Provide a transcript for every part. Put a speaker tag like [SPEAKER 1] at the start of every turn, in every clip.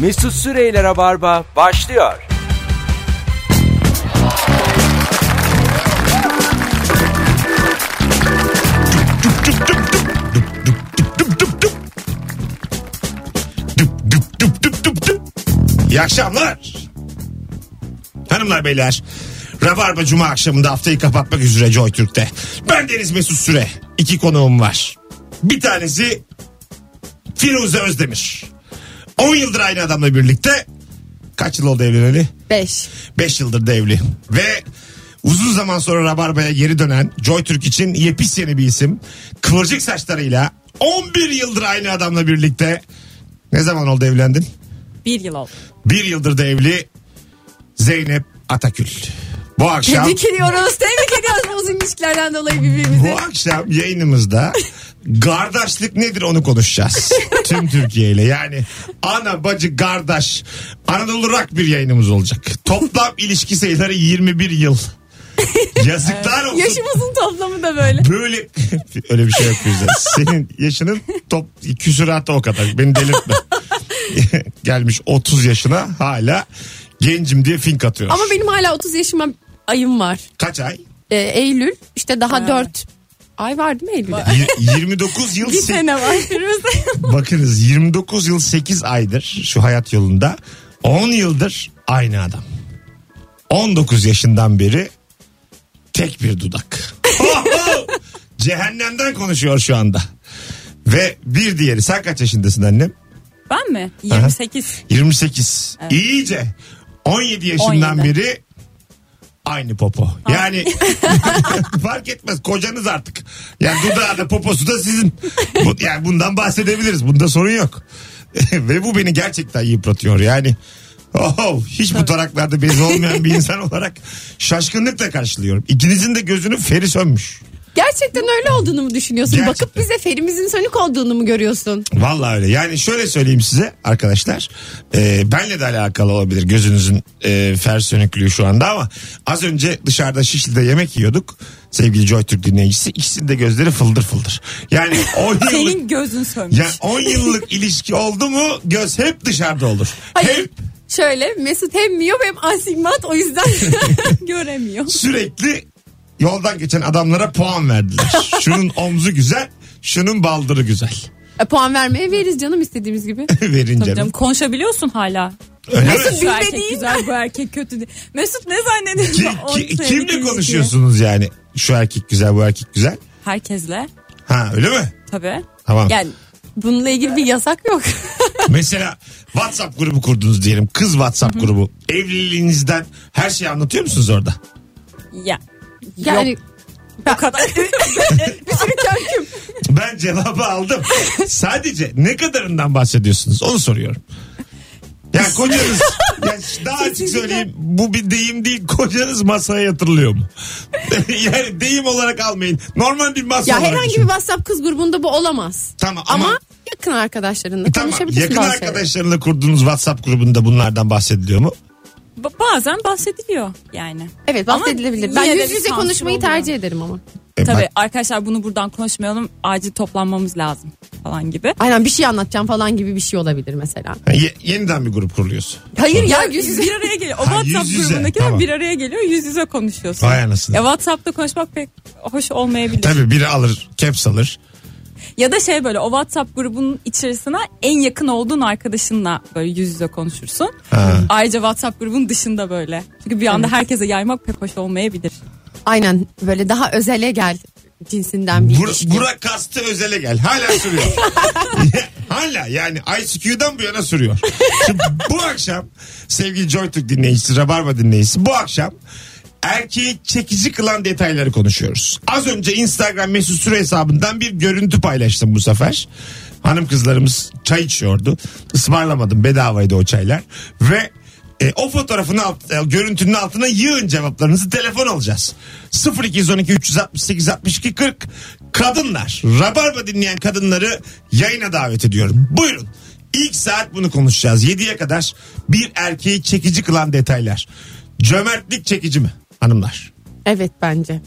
[SPEAKER 1] Mesut Süreyle Rabarba başlıyor.
[SPEAKER 2] Düp düp düp düp düp. İyi akşamlar. Hanımlar beyler. Rabarba Cuma akşamında haftayı kapatmak üzere Joy Türk'te. Ben Deniz Mesut Süre. İki konuğum var. Bir tanesi Firuze Özdemir. 10 yıldır aynı adamla birlikte. Kaç yıl oldu evleneli?
[SPEAKER 3] 5.
[SPEAKER 2] 5 yıldır da evli. Ve uzun zaman sonra Rabarba'ya geri dönen Joy Türk için yepis yeni bir isim. Kıvırcık saçlarıyla 11 yıldır aynı adamla birlikte. Ne zaman oldu evlendin?
[SPEAKER 3] Bir yıl oldu.
[SPEAKER 2] Bir yıldır da evli Zeynep Atakül. Bu akşam
[SPEAKER 3] Tebrik ediyoruz. Tebrik ediyoruz uzun ilişkilerden dolayı
[SPEAKER 2] bu
[SPEAKER 3] birbirimizi.
[SPEAKER 2] akşam yayınımızda kardeşlik nedir onu konuşacağız. Tüm Türkiye ile yani ana bacı kardeş Anadolu rak bir yayınımız olacak. Toplam ilişki sayıları 21 yıl. Yazıklar olsun.
[SPEAKER 3] Yaşımızın toplamı da böyle.
[SPEAKER 2] Böyle öyle bir şey yok bizde. Senin yaşının top küsuratı o kadar. Beni delirtme. Gelmiş 30 yaşına hala gencim diye fink atıyor.
[SPEAKER 3] Ama benim hala 30 yaşıma ayım var.
[SPEAKER 2] Kaç ay?
[SPEAKER 3] Ee, Eylül işte daha 4 ay var değil mi Eylül'de?
[SPEAKER 2] Yir- 29 yıl
[SPEAKER 3] Bir
[SPEAKER 2] se-
[SPEAKER 3] sene var.
[SPEAKER 2] bakınız 29 yıl 8 aydır şu hayat yolunda 10 yıldır aynı adam. 19 yaşından beri tek bir dudak. Oho! Cehennemden konuşuyor şu anda. Ve bir diğeri sen kaç yaşındasın annem?
[SPEAKER 4] Ben mi? 28.
[SPEAKER 2] 28. İyice 17 yaşından
[SPEAKER 4] 17.
[SPEAKER 2] beri aynı popo. Yani fark etmez kocanız artık. Yani dudağı da poposu da sizin. Bu, yani bundan bahsedebiliriz. Bunda sorun yok. Ve bu beni gerçekten yıpratıyor. Yani oh, hiç bu taraklarda bez olmayan bir insan olarak şaşkınlıkla karşılıyorum. İkinizin de gözünün feri sönmüş.
[SPEAKER 3] Gerçekten öyle olduğunu mu düşünüyorsun?
[SPEAKER 2] Gerçekten.
[SPEAKER 3] Bakıp bize ferimizin sönük olduğunu mu görüyorsun?
[SPEAKER 2] Vallahi öyle. Yani şöyle söyleyeyim size arkadaşlar. Ee, benle de alakalı olabilir gözünüzün e, fer sönüklüğü şu anda ama az önce dışarıda Şişli'de yemek yiyorduk. Sevgili JoyTürk dinleyicisi ikisinin de gözleri fıldır fıldır. Yani 10 yıllık,
[SPEAKER 4] Senin gözün sönmüş.
[SPEAKER 2] yani 10 yıllık ilişki oldu mu göz hep dışarıda olur.
[SPEAKER 3] Hayır.
[SPEAKER 2] Hep
[SPEAKER 3] Şöyle Mesut hem miyop hem asigmat o yüzden
[SPEAKER 4] Göremiyor.
[SPEAKER 2] sürekli yoldan geçen adamlara puan verdiler. Şunun omzu güzel, şunun baldırı güzel.
[SPEAKER 3] E, puan vermeye veririz canım istediğimiz gibi.
[SPEAKER 2] Verin
[SPEAKER 4] Canım,
[SPEAKER 2] canım.
[SPEAKER 4] konuşabiliyorsun hala.
[SPEAKER 2] Öyle mi?
[SPEAKER 4] Mesut
[SPEAKER 3] mi?
[SPEAKER 4] bu erkek
[SPEAKER 3] Bilmediğin-
[SPEAKER 4] güzel bu erkek kötü diye. Mesut ne zannediyorsun?
[SPEAKER 2] Ki,
[SPEAKER 4] O
[SPEAKER 2] ki-
[SPEAKER 4] sevdikleri
[SPEAKER 2] kimle
[SPEAKER 4] ilişkiyi?
[SPEAKER 2] konuşuyorsunuz yani? Şu erkek güzel, bu erkek güzel.
[SPEAKER 4] Herkesle
[SPEAKER 2] Ha öyle mi?
[SPEAKER 4] tabii.
[SPEAKER 2] Tamam.
[SPEAKER 3] Yani bununla ilgili bir yasak yok.
[SPEAKER 2] Mesela WhatsApp grubu kurdunuz diyelim. Kız WhatsApp grubu. Evliliğinizden her şeyi anlatıyor musunuz orada?
[SPEAKER 4] Ya.
[SPEAKER 3] Yani
[SPEAKER 4] Yok, o kadar.
[SPEAKER 3] Görküm.
[SPEAKER 2] Ben cevabı aldım. Sadece ne kadarından bahsediyorsunuz onu soruyorum. Ya kocanız ya daha açık söyleyeyim bu bir deyim değil kocanız masaya yatırılıyor mu? yani deyim olarak almayın. Normal bir masa
[SPEAKER 3] Ya
[SPEAKER 2] olarak
[SPEAKER 3] herhangi bir
[SPEAKER 2] düşünün.
[SPEAKER 3] WhatsApp kız grubunda bu olamaz.
[SPEAKER 2] Tamam
[SPEAKER 3] Ama,
[SPEAKER 2] ama,
[SPEAKER 3] yakın arkadaşlarınla
[SPEAKER 2] tamam,
[SPEAKER 3] konuşabilirsin.
[SPEAKER 2] yakın
[SPEAKER 3] bazı şeyleri.
[SPEAKER 2] arkadaşlarınla kurduğunuz WhatsApp grubunda bunlardan bahsediliyor mu?
[SPEAKER 4] Ba- Bazen bahsediliyor yani.
[SPEAKER 3] Evet
[SPEAKER 4] Ama
[SPEAKER 3] bahsedilebilir.
[SPEAKER 4] yine
[SPEAKER 3] Ben
[SPEAKER 4] de
[SPEAKER 3] yüz
[SPEAKER 4] bir
[SPEAKER 3] yüze
[SPEAKER 4] sansür
[SPEAKER 3] konuşmayı
[SPEAKER 4] oluyor.
[SPEAKER 3] tercih ederim ama.
[SPEAKER 2] E,
[SPEAKER 4] Tabii
[SPEAKER 2] bak-
[SPEAKER 4] arkadaşlar bunu buradan konuşmayalım. Acil toplanmamız lazım falan gibi.
[SPEAKER 3] Aynen bir şey anlatacağım falan gibi bir şey olabilir mesela.
[SPEAKER 2] Ha, ye- yeniden bir grup kuruluyoruz.
[SPEAKER 3] Hayır ya yüz
[SPEAKER 4] Yüz
[SPEAKER 3] yüze.
[SPEAKER 4] bir araya geliyor. O
[SPEAKER 2] Ha,
[SPEAKER 4] WhatsApp
[SPEAKER 2] yüz yüze,
[SPEAKER 4] grubundakiler
[SPEAKER 2] tamam.
[SPEAKER 4] bir araya geliyor. Yüz yüze konuşuyorsun.
[SPEAKER 2] Vay anasını.
[SPEAKER 4] Ya WhatsApp'ta konuşmak pek hoş olmayabilir.
[SPEAKER 2] Tabii biri alır, caps alır.
[SPEAKER 4] Ya da şey böyle o WhatsApp grubunun içerisine en yakın olduğun arkadaşınla böyle yüz yüze konuşursun.
[SPEAKER 2] Ha.
[SPEAKER 4] Ayrıca WhatsApp grubunun dışında böyle. Çünkü bir anda herkese yaymak pek hoş olmayabilir.
[SPEAKER 3] Aynen böyle daha özele gel cinsinden bir
[SPEAKER 2] Bur-
[SPEAKER 3] ilişki.
[SPEAKER 2] Burak Kastı özele gel. Hala sürüyor. Hala yani ICQ'dan bu yana sürüyor. Şimdi bu akşam sevgili JoyTürk dinleyicisi, Rabarba dinleyicisi bu akşam erkeği çekici kılan detayları konuşuyoruz. Az önce Instagram mesut süre hesabından bir görüntü paylaştım bu sefer. Hanım kızlarımız çay içiyordu. Ismarlamadım bedavaydı o çaylar. Ve E, o fotoğrafın alt, e, görüntünün altına yığın cevaplarınızı telefon alacağız. 0212 368 62 40 kadınlar. Rabarba dinleyen kadınları yayına davet ediyorum. Buyurun. İlk saat bunu konuşacağız. 7'ye kadar bir erkeği çekici kılan detaylar. Cömertlik çekici mi hanımlar?
[SPEAKER 3] Evet bence.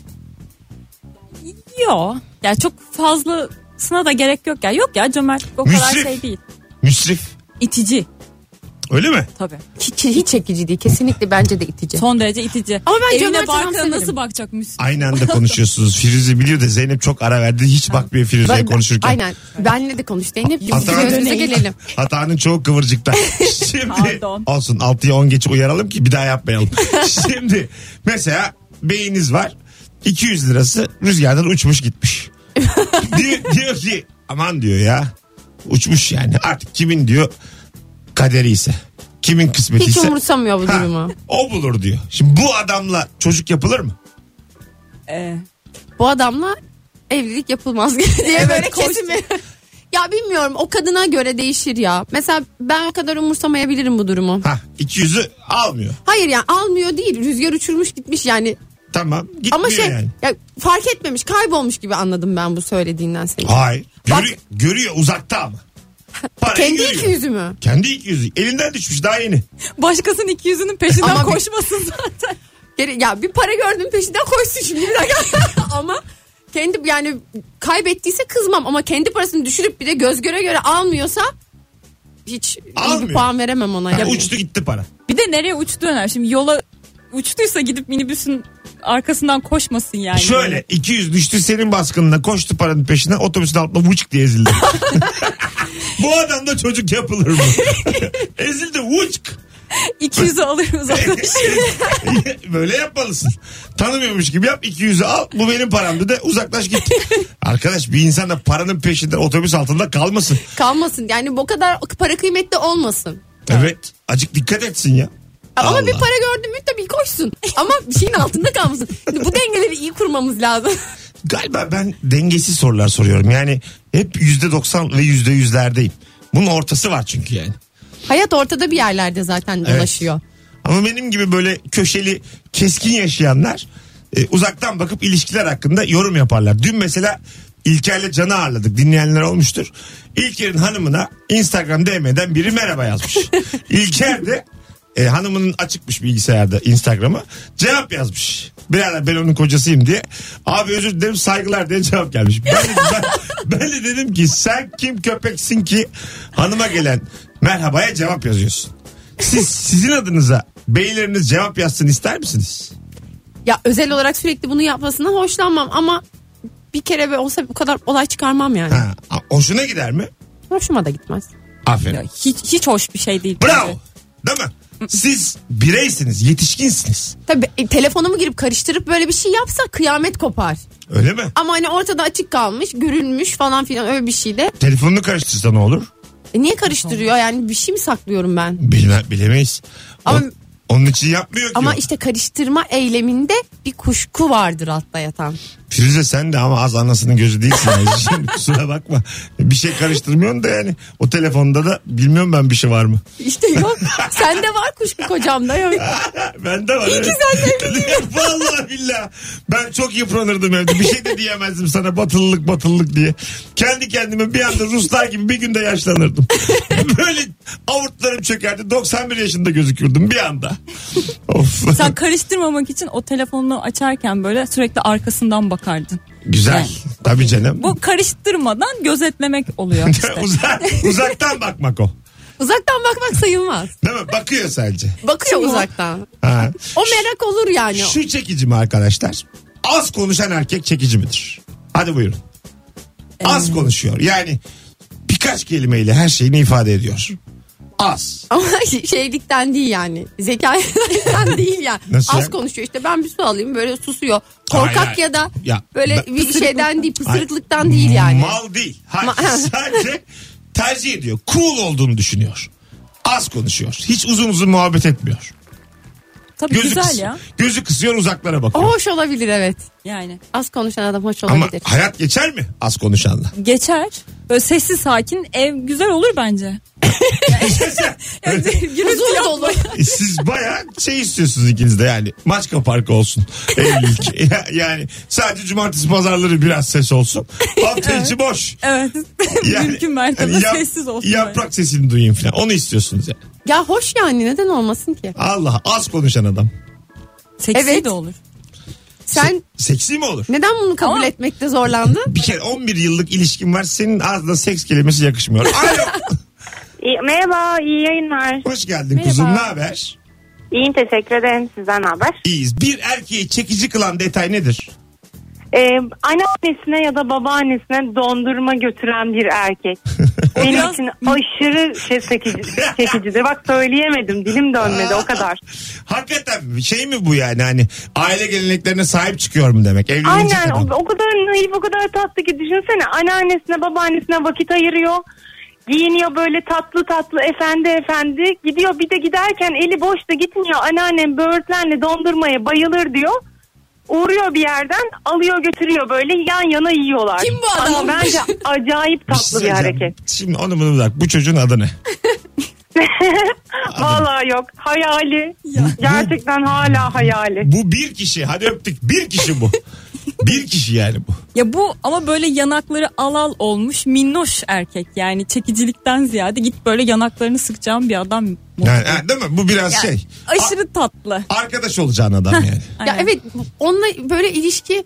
[SPEAKER 4] Yo. Ya çok fazlasına da gerek yok ya. Yok ya cömertlik o kadar
[SPEAKER 2] Müsrif.
[SPEAKER 4] şey değil.
[SPEAKER 2] Müsrif.
[SPEAKER 4] İtici.
[SPEAKER 2] Öyle mi?
[SPEAKER 4] Tabii.
[SPEAKER 3] Hiç, hiç çekici değil. Kesinlikle bence de itici.
[SPEAKER 4] Son derece itici.
[SPEAKER 3] Ama ben
[SPEAKER 4] Evine
[SPEAKER 3] cömert adam
[SPEAKER 4] barkına
[SPEAKER 3] severim.
[SPEAKER 4] nasıl bakacak müslüm?
[SPEAKER 2] Aynı anda konuşuyorsunuz. Firuze biliyor da Zeynep çok ara verdi. Hiç bakmıyor Firuze'ye
[SPEAKER 3] Ben-
[SPEAKER 2] konuşurken.
[SPEAKER 3] Aynen. Benle de konuş. Zeynep biz
[SPEAKER 2] Hatta-
[SPEAKER 3] gözümüze gelelim.
[SPEAKER 2] Hatanın çoğu kıvırcıkta. Şimdi
[SPEAKER 4] Pardon.
[SPEAKER 2] olsun 6'ya 10 geçe uyaralım ki bir daha yapmayalım. Şimdi mesela beyiniz var. 200 lirası rüzgardan uçmuş gitmiş. diyor, diyor ki aman diyor ya uçmuş yani artık kimin diyor kaderi ise kimin kısmeti
[SPEAKER 3] Hiç
[SPEAKER 2] ise
[SPEAKER 3] umursamıyor bu
[SPEAKER 2] Ha,
[SPEAKER 3] durumu.
[SPEAKER 2] o bulur diyor. Şimdi bu adamla çocuk yapılır mı?
[SPEAKER 4] Ee,
[SPEAKER 3] Bu adamla evlilik yapılmaz diye böyle kesin bir- Ya bilmiyorum o kadına göre değişir ya. Mesela ben o kadar umursamayabilirim bu durumu.
[SPEAKER 2] Ha 200'ü almıyor.
[SPEAKER 3] Hayır yani almıyor değil. Rüzgar uçurmuş gitmiş yani.
[SPEAKER 2] Tamam gitmiyor
[SPEAKER 3] Ama şey
[SPEAKER 2] yani.
[SPEAKER 3] ya fark etmemiş kaybolmuş gibi anladım ben bu söylediğinden seni.
[SPEAKER 2] Hayır.
[SPEAKER 3] Bak-
[SPEAKER 2] Görü- görüyor uzakta ama. Parayı
[SPEAKER 3] Kendi
[SPEAKER 2] görüyor.
[SPEAKER 3] iki yüzü mü?
[SPEAKER 2] Kendi 200'ü. Elinden düşmüş daha yeni.
[SPEAKER 4] başkasının iki yüzünün peşinden
[SPEAKER 3] Ama bir-
[SPEAKER 4] koşmasın zaten.
[SPEAKER 3] Geri- Ya bir para gördüm peşinden koşsun şimdi bir dakika. ama kendi yani kaybettiyse kızmam ama kendi parasını düşürüp bir de göz göre göre almıyorsa hiç iyi
[SPEAKER 2] Almıyor.
[SPEAKER 3] bir puan veremem ona.
[SPEAKER 2] Ya
[SPEAKER 3] Yani.
[SPEAKER 2] uçtu gitti para.
[SPEAKER 4] Bir de nereye uçtu önemli. Şimdi yola uçtuysa gidip minibüsün arkasından koşmasın yani.
[SPEAKER 2] Şöyle 200 düştü senin baskınına koştu paranın peşine otobüsün altında vuçk diye ezildi. Bu adamda çocuk yapılır mı? ezildi vuçk.
[SPEAKER 4] 200'ü alır uzaklaşır.
[SPEAKER 2] Böyle yapmalısın. Tanımıyormuş gibi yap 200'ü al bu benim paramdı de uzaklaş git. Arkadaş bir insan da paranın peşinde otobüs altında kalmasın.
[SPEAKER 3] Kalmasın yani bu kadar para kıymetli olmasın.
[SPEAKER 2] Evet. Acık dikkat etsin ya.
[SPEAKER 3] Ama
[SPEAKER 2] Allah.
[SPEAKER 3] bir para gördün mü tabii koşsun. Ama bir şeyin altında kalmasın. Şimdi bu dengeleri iyi kurmamız lazım.
[SPEAKER 2] Galiba ben dengesiz sorular soruyorum. Yani hep %90 ve %100'lerdeyim. Bunun ortası var çünkü yani.
[SPEAKER 3] Hayat ortada bir yerlerde zaten
[SPEAKER 2] Evet.
[SPEAKER 3] dolaşıyor.
[SPEAKER 2] Ama benim gibi böyle köşeli keskin yaşayanlar e, uzaktan bakıp ilişkiler hakkında yorum yaparlar. Dün mesela İlker'le Can'ı ağırladık dinleyenler olmuştur. İlker'in hanımına Instagram DM'den biri merhaba yazmış. İlker de e, hanımının açıkmış bilgisayarda Instagram'a cevap yazmış. Birader ben onun kocasıyım diye. Abi özür dilerim saygılar diye cevap gelmiş. Ben de, ben, ben de dedim ki sen kim köpeksin ki hanıma gelen merhabaya cevap yazıyorsun. Siz sizin adınıza beyleriniz cevap yazsın ister misiniz?
[SPEAKER 3] Ya özel olarak sürekli bunu yapmasından hoşlanmam ama bir kere be olsa bu kadar olay çıkarmam yani.
[SPEAKER 2] Ha, a- hoşuna gider mi?
[SPEAKER 3] Hoşuma da gitmez.
[SPEAKER 2] Aferin.
[SPEAKER 4] hiç, hiç hoş bir şey değil.
[SPEAKER 2] Bravo. Değil mi? Siz bireysiniz, yetişkinsiniz.
[SPEAKER 3] Tabii e, telefonumu girip karıştırıp böyle bir şey yapsa kıyamet kopar.
[SPEAKER 2] Öyle mi?
[SPEAKER 3] Ama hani ortada açık kalmış, görülmüş falan filan öyle bir şey de.
[SPEAKER 2] Telefonunu karıştırsa ne olur?
[SPEAKER 3] E, niye karıştırıyor yani bir şey mi saklıyorum ben?
[SPEAKER 2] Bile, bilemeyiz.
[SPEAKER 3] Ama-
[SPEAKER 2] O- onun için yapmıyor ki.
[SPEAKER 3] Ama
[SPEAKER 2] o.
[SPEAKER 3] işte karıştırma eyleminde bir kuşku vardır altta yatan.
[SPEAKER 2] Firuze sen de ama az anasının gözü değilsin. yani. Şimdi kusura bakma. Bir şey karıştırmıyorsun da yani. O telefonda da bilmiyorum ben bir şey var mı?
[SPEAKER 3] İşte yok. Sende var kuşku kocamda yok.
[SPEAKER 2] Ben de var. İyi ki Vallahi billahi. Ben çok yıpranırdım evde. Bir şey de diyemezdim sana batılılık batılılık diye. Kendi kendime bir anda Ruslar gibi bir günde yaşlanırdım. Böyle avurtlarım çökerdi. 91 yaşında gözükürdüm bir anda. Of.
[SPEAKER 4] Sen karıştırmamak için o telefonunu açarken böyle sürekli arkasından bakardın.
[SPEAKER 2] Güzel.
[SPEAKER 4] Yani.
[SPEAKER 2] Tabii canım.
[SPEAKER 4] Bu karıştırmadan gözetlemek oluyor işte.
[SPEAKER 2] Uzak, uzaktan bakmak o.
[SPEAKER 3] Uzaktan bakmak sayılmaz.
[SPEAKER 2] Değil mi? Bakıyor sadece.
[SPEAKER 3] Bakıyor
[SPEAKER 4] Kim o?
[SPEAKER 3] uzaktan.
[SPEAKER 2] Ha.
[SPEAKER 3] O merak olur yani.
[SPEAKER 2] Şu çekici mi arkadaşlar? Az konuşan erkek çekici midir? Hadi buyurun. Az konuşuyor. Yani birkaç kelimeyle her şeyini ifade ediyor. Az.
[SPEAKER 3] Ama şeylikten değil yani. Zekadan değil yani.
[SPEAKER 2] Nasıl
[SPEAKER 3] Az
[SPEAKER 2] yani?
[SPEAKER 3] konuşuyor. İşte ben bir su alayım böyle susuyor. Korkak
[SPEAKER 2] Hayır, hayır.
[SPEAKER 3] ya da
[SPEAKER 2] Ya,
[SPEAKER 3] böyle
[SPEAKER 2] ben-
[SPEAKER 3] bir şeyden değil pısırıklıktan
[SPEAKER 2] Hayır.
[SPEAKER 3] değil yani.
[SPEAKER 2] Mal değil. Hayır. Sadece tercih ediyor. Cool olduğunu düşünüyor. Az konuşuyor. Hiç uzun uzun muhabbet etmiyor.
[SPEAKER 4] Tabii
[SPEAKER 2] Gözü,
[SPEAKER 4] güzel
[SPEAKER 2] kıs-
[SPEAKER 4] ya.
[SPEAKER 2] gözü kısıyor uzaklara
[SPEAKER 3] O
[SPEAKER 2] bakıyor.
[SPEAKER 3] hoş olabilir evet.
[SPEAKER 4] Yani
[SPEAKER 3] Az konuşan adam hoş
[SPEAKER 2] Ama
[SPEAKER 3] olabilir.
[SPEAKER 2] hayat geçer mi az konuşanla?
[SPEAKER 4] geçer. Böyle sessiz sakin ev güzel olur bence. Yani gürültü
[SPEAKER 3] Huzur
[SPEAKER 4] yapma.
[SPEAKER 3] dolu.
[SPEAKER 2] E, Siz baya şey istiyorsunuz ikiniz de yani. Maçka parkı olsun. Evlilik. Ya- yani sadece cumartesi pazarları biraz ses olsun. Hafta içi boş.
[SPEAKER 4] Evet.
[SPEAKER 2] Yani,
[SPEAKER 4] Mümkün mertebe
[SPEAKER 2] hani yap-
[SPEAKER 4] sessiz olsun.
[SPEAKER 2] Yaprak
[SPEAKER 4] böyle.
[SPEAKER 2] sesini duyayım falan. Onu istiyorsunuz yani.
[SPEAKER 3] Ya hoş yani neden olmasın ki?
[SPEAKER 2] Allah az konuşan adam.
[SPEAKER 4] Seksi
[SPEAKER 3] Evet.
[SPEAKER 4] de olur.
[SPEAKER 3] Sen
[SPEAKER 2] Seksi mi olur?
[SPEAKER 3] neden bunu kabul
[SPEAKER 4] Ama-
[SPEAKER 3] etmekte zorlandın?
[SPEAKER 2] Bir kere 11 yıllık ilişkin var. Senin ağzına seks kelimesi yakışmıyor. Alo.
[SPEAKER 5] İyi- merhaba, iyi yayınlar.
[SPEAKER 2] Hoş geldin kuzum. Ne haber?
[SPEAKER 5] İyiyim, teşekkür ederim. Sizden ne haber?
[SPEAKER 2] İyiyiz. Bir erkeği çekici kılan detay nedir?
[SPEAKER 5] Ee, anneannesine ya da babaannesine dondurma götüren bir erkek. Benim
[SPEAKER 4] biraz-
[SPEAKER 5] için aşırı şey çekici, çekicidir. Bak söyleyemedim, dilim dönmedi o kadar.
[SPEAKER 2] Hakikaten şey mi bu yani hani aile geleneklerine sahip çıkıyorum demek. Evlenince
[SPEAKER 5] Aynen, o,
[SPEAKER 2] kadar.
[SPEAKER 5] o kadar naif, o kadar tatlı ki düşünsene. Anneannesine, babaannesine vakit ayırıyor. Giyiniyor böyle tatlı tatlı efendi efendi. Gidiyor bir de giderken eli boş da gitmiyor. Anneannem böğürtlenle dondurmaya bayılır diyor. Uğruyor bir yerden alıyor götürüyor böyle yan yana yiyorlar.
[SPEAKER 3] Kim bu
[SPEAKER 5] Ama
[SPEAKER 3] adam?
[SPEAKER 5] bence acayip
[SPEAKER 2] Bir şey
[SPEAKER 5] tatlı bir,
[SPEAKER 2] söyleyeceğim.
[SPEAKER 5] hareket.
[SPEAKER 2] Şimdi onu bunu bırak. Bu çocuğun adı ne?
[SPEAKER 5] Vallahi yok hayali. Gerçekten hala hayali.
[SPEAKER 2] Bu bir kişi. Hadi öptük. Bir kişi bu. bir kişi yani bu.
[SPEAKER 4] Ya bu ama böyle yanakları al al olmuş minnoş erkek yani çekicilikten ziyade git böyle yanaklarını sıkacağım bir adam.
[SPEAKER 2] Yani, ha, değil mi? Bu biraz
[SPEAKER 4] Yani
[SPEAKER 2] şey.
[SPEAKER 4] Aşırı tatlı.
[SPEAKER 2] Arkadaş olacağın adam yani.
[SPEAKER 3] Ya
[SPEAKER 4] Aynen.
[SPEAKER 3] evet onunla böyle ilişki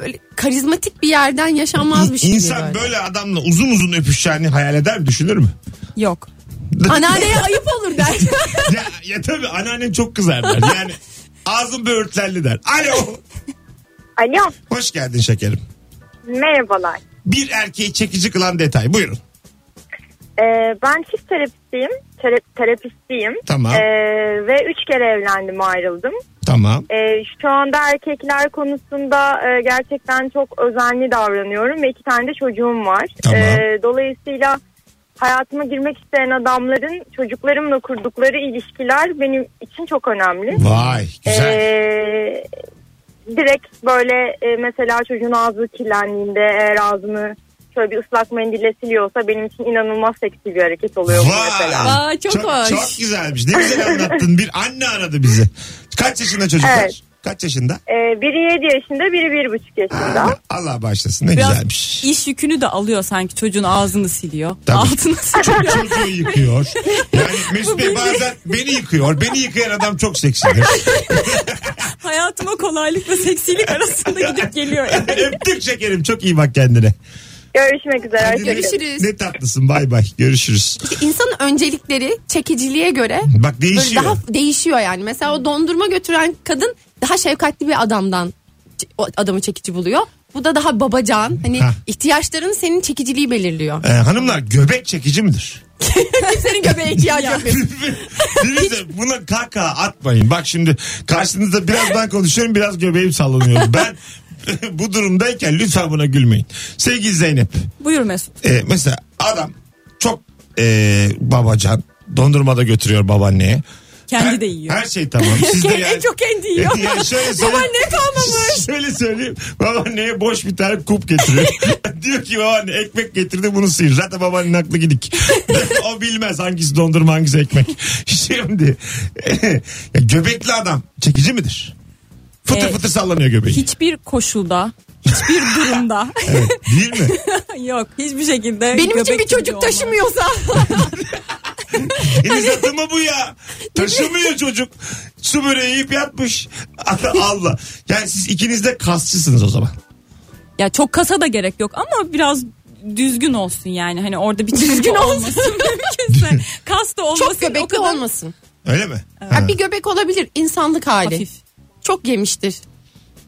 [SPEAKER 3] böyle karizmatik bir yerden yaşanmaz bir şey.
[SPEAKER 2] İnsan böyle adamla uzun uzun öpüşeceğini hayal eder mi? Düşünür mü?
[SPEAKER 4] Yok.
[SPEAKER 3] Anneanneye ayıp olur der.
[SPEAKER 2] ya, ya tabii anneannem çok kızar der. Yani ağzım böğürtlenli der. Alo.
[SPEAKER 5] Alo
[SPEAKER 2] Hoş geldin şekerim.
[SPEAKER 5] merhabalar.
[SPEAKER 2] Bir erkeği çekici kılan detay. Buyurun.
[SPEAKER 5] Ee, ben çift terapistiyim. Tera- terapistiyim.
[SPEAKER 2] Tamam.
[SPEAKER 5] Ee, ve üç kere evlendim ayrıldım.
[SPEAKER 2] Tamam.
[SPEAKER 5] Ee, şu anda erkekler konusunda e, gerçekten çok özenli davranıyorum ve iki tane de çocuğum var.
[SPEAKER 2] Tamam.
[SPEAKER 5] Ee, dolayısıyla hayatıma girmek isteyen adamların çocuklarımla kurdukları ilişkiler benim için çok önemli.
[SPEAKER 2] Vay güzel.
[SPEAKER 5] Ee, direkt böyle e, mesela çocuğun ağzı kirlendiğinde eğer ağzını şöyle bir ıslak mendille siliyorsa benim için inanılmaz seksi bir hareket oluyor bu mesela.
[SPEAKER 3] Aa, çok hoş.
[SPEAKER 2] Çok güzelmiş. Ne güzel anlattın. Bir anne aradı bizi. Kaç yaşında çocuklar?
[SPEAKER 5] Evet.
[SPEAKER 2] Kaç yaşında?
[SPEAKER 5] Ee, biri 7 yaşında biri bir buçuk yaşında.
[SPEAKER 2] Allah, Allah bağışlasın. Ne
[SPEAKER 4] Biraz
[SPEAKER 2] güzelmiş.
[SPEAKER 4] iş yükünü de alıyor sanki çocuğun ağzını siliyor.
[SPEAKER 2] Tabii.
[SPEAKER 4] Altını siliyor.
[SPEAKER 2] Çok çocuğu yıkıyor. Yani Mesut Bey bazen beni yıkıyor. Beni yıkayan adam çok seksidir.
[SPEAKER 4] Hayatıma kolaylık ve seksilik arasında gidip geliyor. yani.
[SPEAKER 2] Öptük şekerim. Çok iyi bak kendine.
[SPEAKER 5] Görüşmek üzere.
[SPEAKER 2] Hadi ne-
[SPEAKER 5] hoşçakalın.
[SPEAKER 3] Görüşürüz.
[SPEAKER 2] Ne tatlısın. Bay bay. Görüşürüz.
[SPEAKER 3] İnsanın öncelikleri çekiciliğe göre
[SPEAKER 2] Bak
[SPEAKER 3] böyle
[SPEAKER 2] değişiyor.
[SPEAKER 3] daha değişiyor yani. Mesela o dondurma götüren kadın daha şefkatli bir adamdan ç- o adamı çekici buluyor. Bu da daha babacan. Hani
[SPEAKER 2] Hah.
[SPEAKER 3] ihtiyaçların senin çekiciliği belirliyor.
[SPEAKER 2] Ee, hanımlar göbek çekici midir?
[SPEAKER 3] Senin göbeğe ihtiyacı yok.
[SPEAKER 2] Birisi buna kaka atmayın. Bak şimdi karşınızda biraz ben konuşuyorum biraz göbeğim sallanıyor. Ben bu durumdayken lütfen buna gülmeyin. Sevgili Zeynep
[SPEAKER 4] Buyur Mesut.
[SPEAKER 2] e, mesela adam çok e, babacan dondurmada götürüyor babaanneye.
[SPEAKER 4] Kendi de yiyor.
[SPEAKER 2] Her şey tamam. Siz de yani... E,
[SPEAKER 4] en çok kendi yiyor.
[SPEAKER 2] Yani şöyle söyleyeyim.
[SPEAKER 4] Babaanne kalmamış.
[SPEAKER 2] Şöyle söyleyeyim. Babaanneye boş bir tane kup getiriyor. Diyor ki babaanne ekmek getirdi bunu sıyır. Zaten babaannenin aklı gidik. o bilmez hangisi dondurma hangisi ekmek. Şimdi ya göbekli adam çekici midir? Fıtır
[SPEAKER 4] Ee,
[SPEAKER 2] fıtır sallanıyor göbeği.
[SPEAKER 4] Hiçbir koşulda, hiçbir durumda.
[SPEAKER 2] Evet, değil mi?
[SPEAKER 4] Yok hiçbir şekilde.
[SPEAKER 3] Benim için
[SPEAKER 4] göbek
[SPEAKER 3] bir
[SPEAKER 4] gibi
[SPEAKER 3] çocuk
[SPEAKER 4] olmaz.
[SPEAKER 3] taşımıyorsa
[SPEAKER 2] Deniz atı mı bu ya? Taşımıyor çocuk. Su böreği yiyip yatmış. Allah. Yani siz ikiniz de kasçısınız o zaman.
[SPEAKER 4] Ya çok kasa da gerek yok ama biraz düzgün olsun yani. Hani orada bir çizgi
[SPEAKER 3] Düzgün olsun.
[SPEAKER 4] olmasın mümkünse. Kas da olmasın.
[SPEAKER 3] çok
[SPEAKER 4] o
[SPEAKER 3] göbekli
[SPEAKER 4] kadar
[SPEAKER 3] olmasın.
[SPEAKER 2] Öyle mi?
[SPEAKER 3] Ha,
[SPEAKER 2] Ha.
[SPEAKER 3] bir göbek olabilir insanlık hali.
[SPEAKER 4] Hafif.
[SPEAKER 3] Çok yemiştir.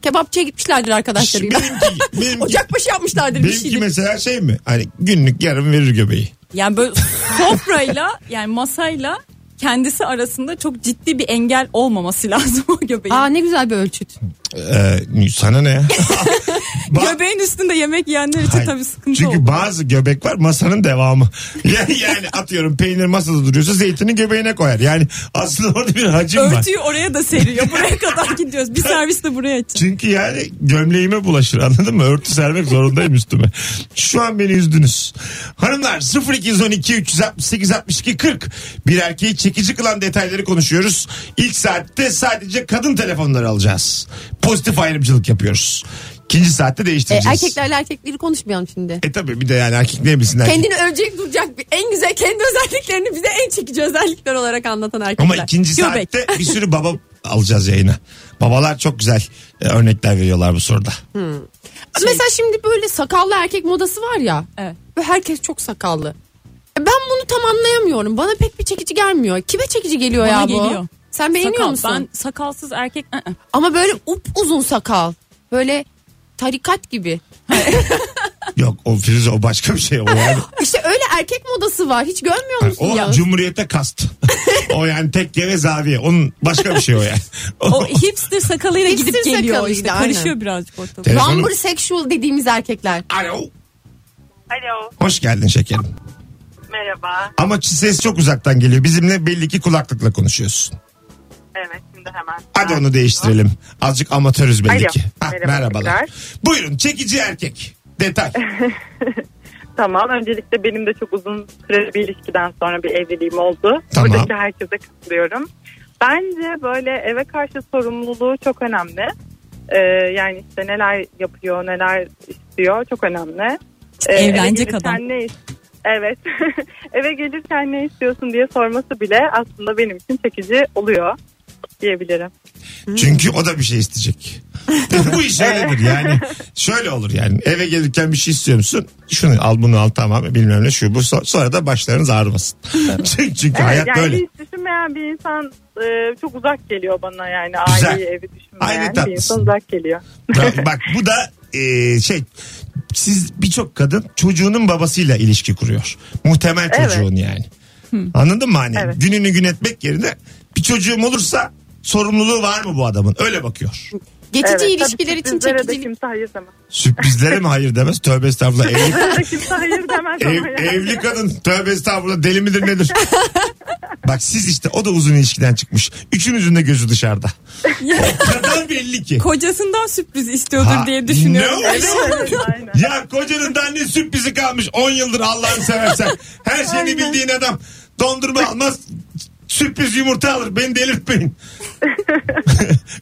[SPEAKER 3] Kebapçıya gitmişlerdir arkadaşlarıyla.
[SPEAKER 2] Benimki, benimki,
[SPEAKER 3] Ocakbaşı yapmışlardır bir
[SPEAKER 2] benimki
[SPEAKER 3] şeydir.
[SPEAKER 2] mesela şey mi? Hani günlük yarım verir göbeği.
[SPEAKER 4] Yani böyle sofrayla yani masayla kendisi arasında çok ciddi bir engel olmaması lazım o göbeğin.
[SPEAKER 3] Aa ne güzel bir ölçüt.
[SPEAKER 2] Ee, sana ne ya? Ba-
[SPEAKER 4] Göbeğin üstünde yemek yiyenler için
[SPEAKER 2] Hayır.
[SPEAKER 4] tabii sıkıntı
[SPEAKER 2] Çünkü
[SPEAKER 4] oldu.
[SPEAKER 2] bazı göbek var masanın devamı. Yani, yani atıyorum peynir masada duruyorsa zeytini göbeğine koyar. Yani aslında orada bir hacim var.
[SPEAKER 4] Örtüyü oraya da seriyor. Buraya kadar gidiyoruz. Bir servis de buraya için.
[SPEAKER 2] Çünkü yani gömleğime bulaşır anladın mı? Örtü sermek zorundayım üstüme. Şu an beni üzdünüz. Hanımlar 0212 368 62 40 bir erkeği çekici kılan detayları konuşuyoruz. İlk saatte sadece kadın telefonları alacağız. Pozitif ayrımcılık yapıyoruz. İkinci saatte
[SPEAKER 3] E,
[SPEAKER 2] değiştireceğiz.
[SPEAKER 3] erkeklerle erkekleri konuşmayalım şimdi.
[SPEAKER 2] E tabi bir de yani erkek ne bilsin erkek.
[SPEAKER 3] Kendini övecek duracak bir- en güzel kendi özelliklerini bize en çekici özellikler olarak anlatan erkekler.
[SPEAKER 2] Ama ikinci
[SPEAKER 4] Göbek.
[SPEAKER 2] saatte bir sürü baba alacağız yayına. Babalar çok güzel e, örnekler veriyorlar bu soruda.
[SPEAKER 3] Mesela şimdi böyle sakallı erkek modası var ya.
[SPEAKER 4] Evet.
[SPEAKER 3] Ve herkes çok sakallı. E, Ben bunu tam anlayamıyorum. Bana pek bir çekici gelmiyor. Kime çekici geliyor
[SPEAKER 4] Bana
[SPEAKER 3] ya bu?
[SPEAKER 4] geliyor.
[SPEAKER 3] Sen beğeniyor
[SPEAKER 4] Sakal.
[SPEAKER 3] musun?
[SPEAKER 4] Ben sakalsız erkek ı-ı. ı, ı.
[SPEAKER 3] Ama böyle up uzun sakal. Böyle tarikat gibi.
[SPEAKER 2] Yok o Firuze o başka bir şey. O, yani,
[SPEAKER 3] İşte öyle erkek modası var. Hiç görmüyor musun
[SPEAKER 2] o
[SPEAKER 3] ya?
[SPEAKER 2] cumhuriyete kast. o yani tekke ve zaviye. Onun başka bir şey o yani.
[SPEAKER 4] O hipster sakalıyla
[SPEAKER 3] Hipster
[SPEAKER 4] gidip geliyor
[SPEAKER 3] sakalıyla,
[SPEAKER 4] işte.
[SPEAKER 3] aynen.
[SPEAKER 4] Karışıyor birazcık ortalık.
[SPEAKER 2] Telefonu-
[SPEAKER 3] Lumber sexual dediğimiz erkekler.
[SPEAKER 2] Alo.
[SPEAKER 5] Alo
[SPEAKER 2] Hoş geldin şekerim.
[SPEAKER 5] merhaba.
[SPEAKER 2] Ama ses çok uzaktan geliyor. Bizimle belli ki kulaklıkla konuşuyorsun.
[SPEAKER 5] Evet şimdi hemen.
[SPEAKER 2] Hadi onu değiştirelim. Azıcık amatörüz belli
[SPEAKER 5] Alo.
[SPEAKER 2] ki. Ha,
[SPEAKER 5] Merhaba
[SPEAKER 2] merhabalar.
[SPEAKER 5] tekrar.
[SPEAKER 2] Buyurun çekici erkek. Detay.
[SPEAKER 5] Tamam öncelikle benim de çok uzun süreli bir ilişkiden sonra bir evliliğim oldu.
[SPEAKER 2] Tamam.
[SPEAKER 5] Buradaki herkese katılıyorum. Bence böyle eve karşı sorumluluğu çok önemli. Ee, yani işte neler yapıyor, neler istiyor çok önemli. Ee,
[SPEAKER 4] evlenecek
[SPEAKER 5] eve gelirken
[SPEAKER 4] adam.
[SPEAKER 5] Ne, is- evet. eve gelirken ne istiyorsun diye sorması bile aslında benim için çekici oluyor diyebilirim.
[SPEAKER 2] Çünkü o da bir şey isteyecek. Bu iş öyledir yani. Şöyle olur yani. Eve gelirken bir şey istiyor musun? Şunu al bunu al tamam bilmem ne şu bu. So- Sonra da başlarınız ağrımasın. Çünkü çünkü hayat
[SPEAKER 5] yani
[SPEAKER 2] böyle.
[SPEAKER 5] hiç düşünmeyen bir insan e, çok uzak geliyor bana yani
[SPEAKER 2] Güzel.
[SPEAKER 5] aileyi evi düşünmeyen
[SPEAKER 2] Aynı
[SPEAKER 5] bir insan
[SPEAKER 2] tatlısın.
[SPEAKER 5] uzak geliyor.
[SPEAKER 2] Bak- Bak bu da e, şey siz birçok kadın çocuğunun babasıyla ilişki kuruyor. Muhtemel
[SPEAKER 5] Evet.
[SPEAKER 2] çocuğun yani. Anladın mı hani?
[SPEAKER 5] Evet.
[SPEAKER 2] Gününü gün etmek yerine bir çocuğum olursa sorumluluğu var mı bu adamın? Öyle bakıyor.
[SPEAKER 3] Geçici
[SPEAKER 5] Evet,
[SPEAKER 3] ilişkiler
[SPEAKER 5] tabii
[SPEAKER 3] için
[SPEAKER 5] sizlere de
[SPEAKER 3] çekicilik.
[SPEAKER 5] kimse hayır demez.
[SPEAKER 2] Sürprizlere mi hayır demez? Tövbe estağfurullah. Evli,
[SPEAKER 5] Sizlere de kimse hayır demez ama
[SPEAKER 2] ev-
[SPEAKER 5] yani.
[SPEAKER 2] evli kadın tövbe estağfurullah deli midir nedir? Bak siz işte o da uzun ilişkiden çıkmış. Üçünüzün de gözü dışarıda. o kadar belli ki.
[SPEAKER 4] Kocasından sürpriz istiyordur
[SPEAKER 2] Ha,
[SPEAKER 4] diye düşünüyorum.
[SPEAKER 2] ne
[SPEAKER 5] Evet, evet, aynen.
[SPEAKER 2] Ya kocanın da anne sürprizi kalmış 10 yıldır Allah'ını seversen. Her şeyini bildiğin adam dondurma almaz sürpriz yumurta alır. Beni delirtmeyin.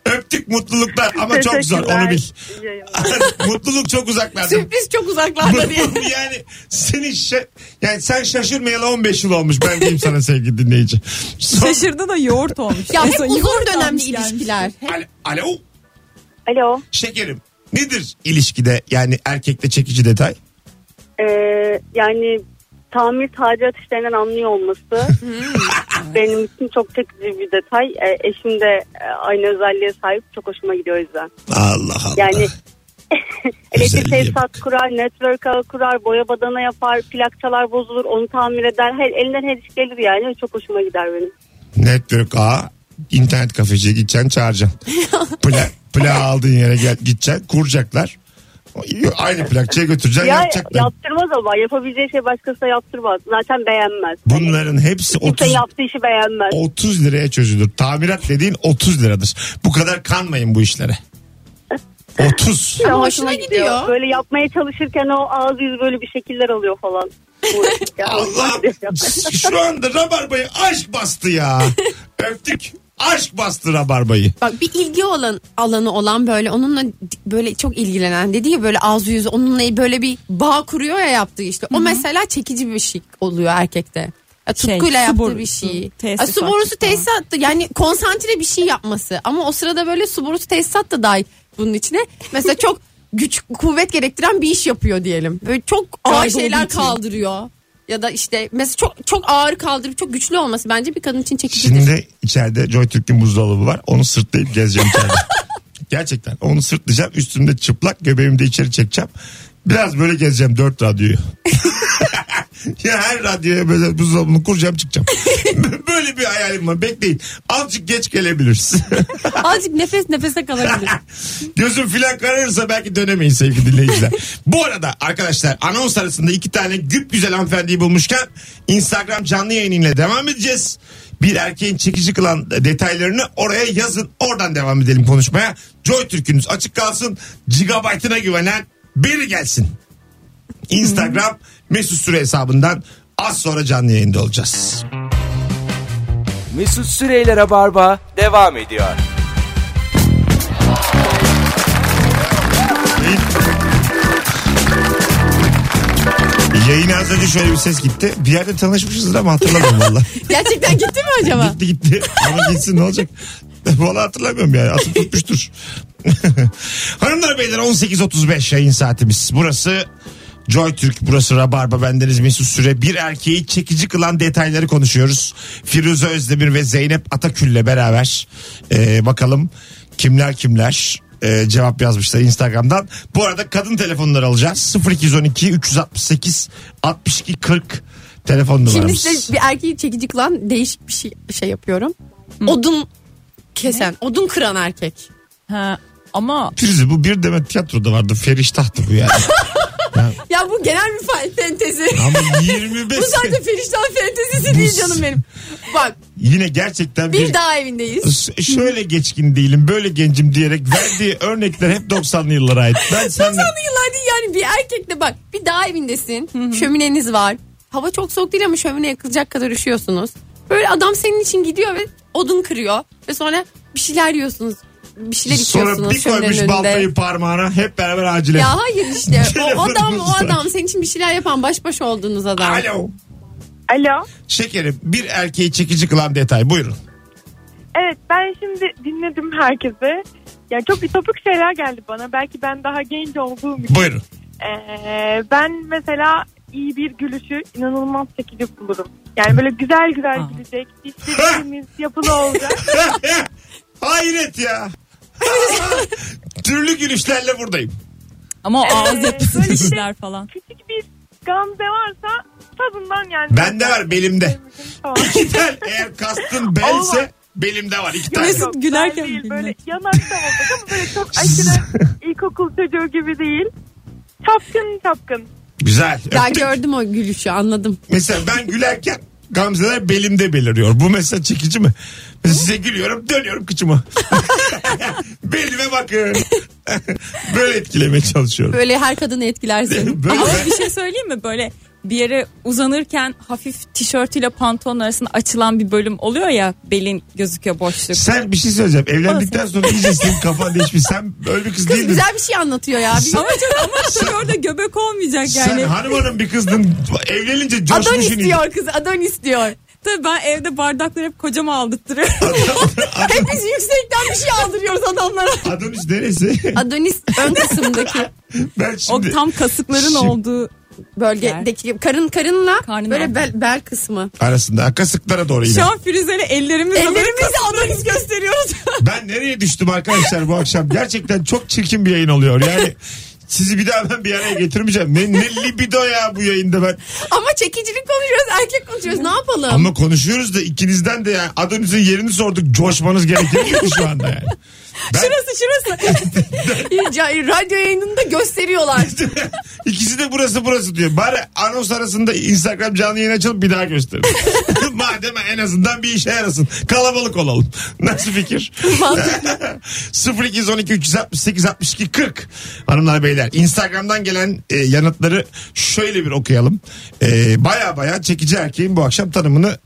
[SPEAKER 2] Öptük mutluluklar ama çok zor onu bil.
[SPEAKER 5] Teşekkürler. İyi yayınlar.
[SPEAKER 2] Mutluluk çok uzaklarda.
[SPEAKER 3] Sürpriz çok uzaklarda diye.
[SPEAKER 2] yani seni şa- yani sen şaşırmayalı 15 yıl olmuş ben diyeyim sana sevgili dinleyici. Son-
[SPEAKER 4] Şaşırdı da yoğurt olmuş.
[SPEAKER 3] Ya
[SPEAKER 4] En
[SPEAKER 3] hep
[SPEAKER 4] son
[SPEAKER 3] uzun
[SPEAKER 4] yoğurt
[SPEAKER 3] dönemli
[SPEAKER 4] almış gelmiş.
[SPEAKER 3] ilişkiler. Hep
[SPEAKER 2] Al- Alo
[SPEAKER 5] Alo.
[SPEAKER 2] şekerim nedir ilişkide yani erkekte çekici detay?
[SPEAKER 6] Ee, yani tamir tadilat işlerinden anlıyor olması benim için çok çekici bir detay. Ee, eşim de e, aynı özelliğe sahip çok hoşuma gidiyor o yüzden.
[SPEAKER 2] Allah Allah.
[SPEAKER 6] Yani elektrik
[SPEAKER 2] Özelliğe
[SPEAKER 6] tesisat kurar, network ağı kurar, boya badana yapar, plakçalar bozulur onu tamir eder. Her, elinden her iş gelir yani çok hoşuma gider benim.
[SPEAKER 2] Network A internet kafeciye gideceksin çağıracaksın. Pla, plağı aldığın yere gel, gideceksin kuracaklar. Aynı plakçıya götüreceksin
[SPEAKER 6] Ya
[SPEAKER 2] yapacaklar.
[SPEAKER 6] yaptırmaz ama yapabileceği şey başkasına yaptırmaz. Zaten beğenmez.
[SPEAKER 2] Bunların hepsi
[SPEAKER 6] Kimse
[SPEAKER 2] 30,
[SPEAKER 6] yaptığı işi beğenmez.
[SPEAKER 2] 30 liraya çözülür. Tamirat dediğin 30 liradır. Bu kadar kanmayın bu işlere. 30.
[SPEAKER 3] Ama
[SPEAKER 6] Ama
[SPEAKER 3] hoşuna gidiyor.
[SPEAKER 6] Böyle yapmaya çalışırken o ağız yüz böyle bir şekiller alıyor falan. Uğraşırken.
[SPEAKER 2] Allah şu anda rabarbayı aşk bastı ya. Öptük. Aşk bastı rabarbayı.
[SPEAKER 3] Bak bir ilgi olan alanı olan böyle onunla di- böyle çok ilgilenen dedi ya böyle ağzı yüzü onunla böyle bir bağ kuruyor ya yaptığı işte. O mesela çekici bir şey oluyor erkekte. Ya,
[SPEAKER 4] Şey,
[SPEAKER 3] tutkuyla
[SPEAKER 4] su
[SPEAKER 3] yaptığı
[SPEAKER 4] borusu,
[SPEAKER 3] bir şey.
[SPEAKER 4] tesisat
[SPEAKER 3] Ya, su borusu
[SPEAKER 4] falan.
[SPEAKER 3] tesisattı yani konsantre bir şey yapması. Ama o sırada böyle su borusu tesisat da dahil bunun içine. Mesela çok güç kuvvet gerektiren bir iş yapıyor diyelim. Böyle çok ağır
[SPEAKER 4] Kaygı olduğu
[SPEAKER 3] şeyler
[SPEAKER 4] için.
[SPEAKER 3] kaldırıyor. Ya da işte mesela çok çok ağır kaldırıp çok güçlü olması bence bir kadın için çekicidir.
[SPEAKER 2] Şimdi içeride Joy Türk'ün buzdolabı var. Onu sırtlayıp gezeceğim içeride. Gerçekten onu sırtlayacağım. Üstümde çıplak göbeğimi de içeri çekeceğim. Biraz böyle gezeceğim dört radyoyu. ya her radyoya böyle buzdolabını kuracağım çıkacağım. böyle bir hayalim var. Bekleyin. Azıcık geç gelebiliriz.
[SPEAKER 3] Azıcık nefes nefese kalabilir.
[SPEAKER 2] Gözüm filan kararırsa belki dönemeyin sevgili dinleyiciler. Bu arada arkadaşlar anons arasında iki tane güp güzel hanımefendiyi bulmuşken Instagram canlı yayınıyla devam edeceğiz. Bir erkeğin çekici kılan detaylarını oraya yazın. Oradan devam edelim konuşmaya. Joy Türk'ünüz açık kalsın. Gigabyte'ına güvenen biri gelsin. Instagram Mesut Süre hesabından az sonra canlı yayında olacağız.
[SPEAKER 1] Mesut Süreyler'e barba devam ediyor.
[SPEAKER 2] Yayına az önce şöyle bir ses gitti. Bir yerde tanışmışızdır ama hatırlamıyorum valla.
[SPEAKER 3] Gerçekten gitti mi acaba?
[SPEAKER 2] Gitti gitti. Ama gitsin ne olacak? Valla hatırlamıyorum yani. Atıp tutmuştur. Hanımlar beyler 18.35 yayın saatimiz. Burası Joy Türk burası Rabarba bendeniz Mesut Süre bir erkeği çekici kılan detayları konuşuyoruz. Firuze Özdemir ve Zeynep Atakül'le beraber Ee, bakalım kimler kimler ee, cevap yazmışlar Instagram'dan. Bu arada kadın telefonları alacağız. 0212 368 62 40 telefon
[SPEAKER 3] Şimdi
[SPEAKER 2] numaramız.
[SPEAKER 3] size bir erkeği çekici kılan değişik bir şey, şey yapıyorum. Odun kesen, odun kıran erkek.
[SPEAKER 4] Ha, ama
[SPEAKER 2] Firuze bu bir demet tiyatroda vardı. Feriştahtı bu yani.
[SPEAKER 3] Ya bu genel bir fa- fentezi.
[SPEAKER 2] Ama 25
[SPEAKER 3] bu zaten perişan fentezisi değil canım benim. Bak
[SPEAKER 2] yine gerçekten bir,
[SPEAKER 3] bir dağ evindeyiz.
[SPEAKER 2] S- şöyle geçkin değilim böyle gencim diyerek verdiği örnekler hep 90'lı yıllara ait. Ben sen
[SPEAKER 3] 90'lı yıllar değil yani bir erkekle bak bir dağ evindesin. şömineniz var. Hava çok soğuk değil ama şömine yakılacak kadar üşüyorsunuz. Böyle adam senin için gidiyor ve odun kırıyor. Ve sonra bir şeyler yiyorsunuz. Bir şeyler
[SPEAKER 2] sonra
[SPEAKER 3] içiyorsunuz
[SPEAKER 2] bir
[SPEAKER 3] şöminenin
[SPEAKER 2] koymuş
[SPEAKER 3] önünde.
[SPEAKER 2] baltayı parmağına hep beraber acile.
[SPEAKER 3] Ya hayır işte o
[SPEAKER 2] Telefonumuz
[SPEAKER 3] adam o
[SPEAKER 2] var.
[SPEAKER 3] adam senin için bir şeyler yapan baş başa olduğunuz adam.
[SPEAKER 2] Alo.
[SPEAKER 5] Alo.
[SPEAKER 2] Şekerim bir erkeği çekici kılan detay buyurun.
[SPEAKER 5] Evet ben şimdi dinledim herkese. Yani çok ütopik şeyler geldi bana. Belki ben daha genç olduğum için.
[SPEAKER 2] Buyurun.
[SPEAKER 5] Ee, ben mesela iyi bir gülüşü inanılmaz çekici bulurum. Yani böyle güzel güzel
[SPEAKER 4] Aa.
[SPEAKER 5] gülecek, dişlerimiz yapılı olacak.
[SPEAKER 2] Hayret ya. Türlü gülüşlerle buradayım.
[SPEAKER 4] ama o ağız
[SPEAKER 5] Ee,
[SPEAKER 4] yapısı
[SPEAKER 3] şey-
[SPEAKER 5] böyle
[SPEAKER 4] işler falan.
[SPEAKER 5] Küçük bir gamze varsa tadından yani.
[SPEAKER 2] Bende var, belimde.
[SPEAKER 5] Tamam.
[SPEAKER 2] İki tane eğer kastın belse belimde var iki tane.
[SPEAKER 4] Mesut
[SPEAKER 5] Yok,
[SPEAKER 4] gülerken
[SPEAKER 5] ben değil,
[SPEAKER 4] bilmek.
[SPEAKER 5] böyle yanakta olacak ama böyle çok aşırı ilkokul çocuğu gibi değil. Çapkın çapkın.
[SPEAKER 2] Güzel.
[SPEAKER 3] Ya
[SPEAKER 2] Öptük.
[SPEAKER 3] gördüm o gülüşü anladım.
[SPEAKER 2] Mesela ben gülerken gamzeler belimde beliriyor. Bu mesela çekici mi? Mesela size gülüyorum dönüyorum kıçıma. Belime bakın. Böyle etkilemeye çalışıyorum.
[SPEAKER 3] Böyle her kadını etkilersin.
[SPEAKER 2] Böyle
[SPEAKER 4] Ama
[SPEAKER 2] ben-
[SPEAKER 4] bir şey söyleyeyim mi böyle bir yere uzanırken hafif tişörtüyle pantolon arasında açılan bir bölüm oluyor ya belin gözüküyor boşluk.
[SPEAKER 2] Sen bir şey söyleyeceğim. Evlendikten sonra iyice senin kafan değişmiş. Sen öyle bir kız
[SPEAKER 3] Kız
[SPEAKER 2] değildin.
[SPEAKER 3] güzel bir şey anlatıyor ya. Bir-
[SPEAKER 4] Ama çok ama tabii orada göbek olmayacak
[SPEAKER 2] Sen
[SPEAKER 4] yani.
[SPEAKER 2] hanım hanım bir kızdın. Evlenince
[SPEAKER 3] Adon
[SPEAKER 2] coşmuşsun. iyice.
[SPEAKER 3] istiyor kız adon istiyor.
[SPEAKER 4] Tabii ben evde bardakları hep kocama aldırttırıyorum.
[SPEAKER 3] Hepimiz yüksekten bir şey aldırıyoruz adamlara.
[SPEAKER 2] Adonis neresi?
[SPEAKER 3] Adonis ön kısımdaki
[SPEAKER 2] ben
[SPEAKER 4] o
[SPEAKER 2] şimdi...
[SPEAKER 4] tam kasıkların
[SPEAKER 2] Şimdi-
[SPEAKER 4] olduğu
[SPEAKER 3] bölgedeki karın karınla
[SPEAKER 4] Karnın
[SPEAKER 3] böyle
[SPEAKER 4] altı.
[SPEAKER 3] bel, bel kısmı.
[SPEAKER 2] Arasında kasıklara doğru yine.
[SPEAKER 4] Şu an Firuze'yle ellerimiz
[SPEAKER 3] Ellerimizi Adonis gösteriyoruz.
[SPEAKER 2] Ben nereye düştüm arkadaşlar bu akşam? Gerçekten çok çirkin bir yayın oluyor. Yani sizi bir daha ben bir araya getirmeyeceğim. Ne, ne libido ya bu yayında ben.
[SPEAKER 3] Ama çekicilik konuşuyoruz erkek konuşuyoruz ne yapalım?
[SPEAKER 2] Ama konuşuyoruz da ikinizden de yani adınızın yerini sorduk. Coşmanız gerekir miydi şu anda yani? Ben,
[SPEAKER 3] Şurası şurası. Ca- Radyo yayınında gösteriyorlar.
[SPEAKER 2] ikisi de burası burası diyor. Bari anons arasında Instagram canlı yayın açalım bir daha gösterin. Madem en azından bir işe yarasın. Kalabalık olalım. Nasıl fikir? 0212 368 62 40 hanımlar beyler Instagram'dan gelen e, yanıtları şöyle bir okuyalım E, baya baya çekici erkeğin bu akşam tanımını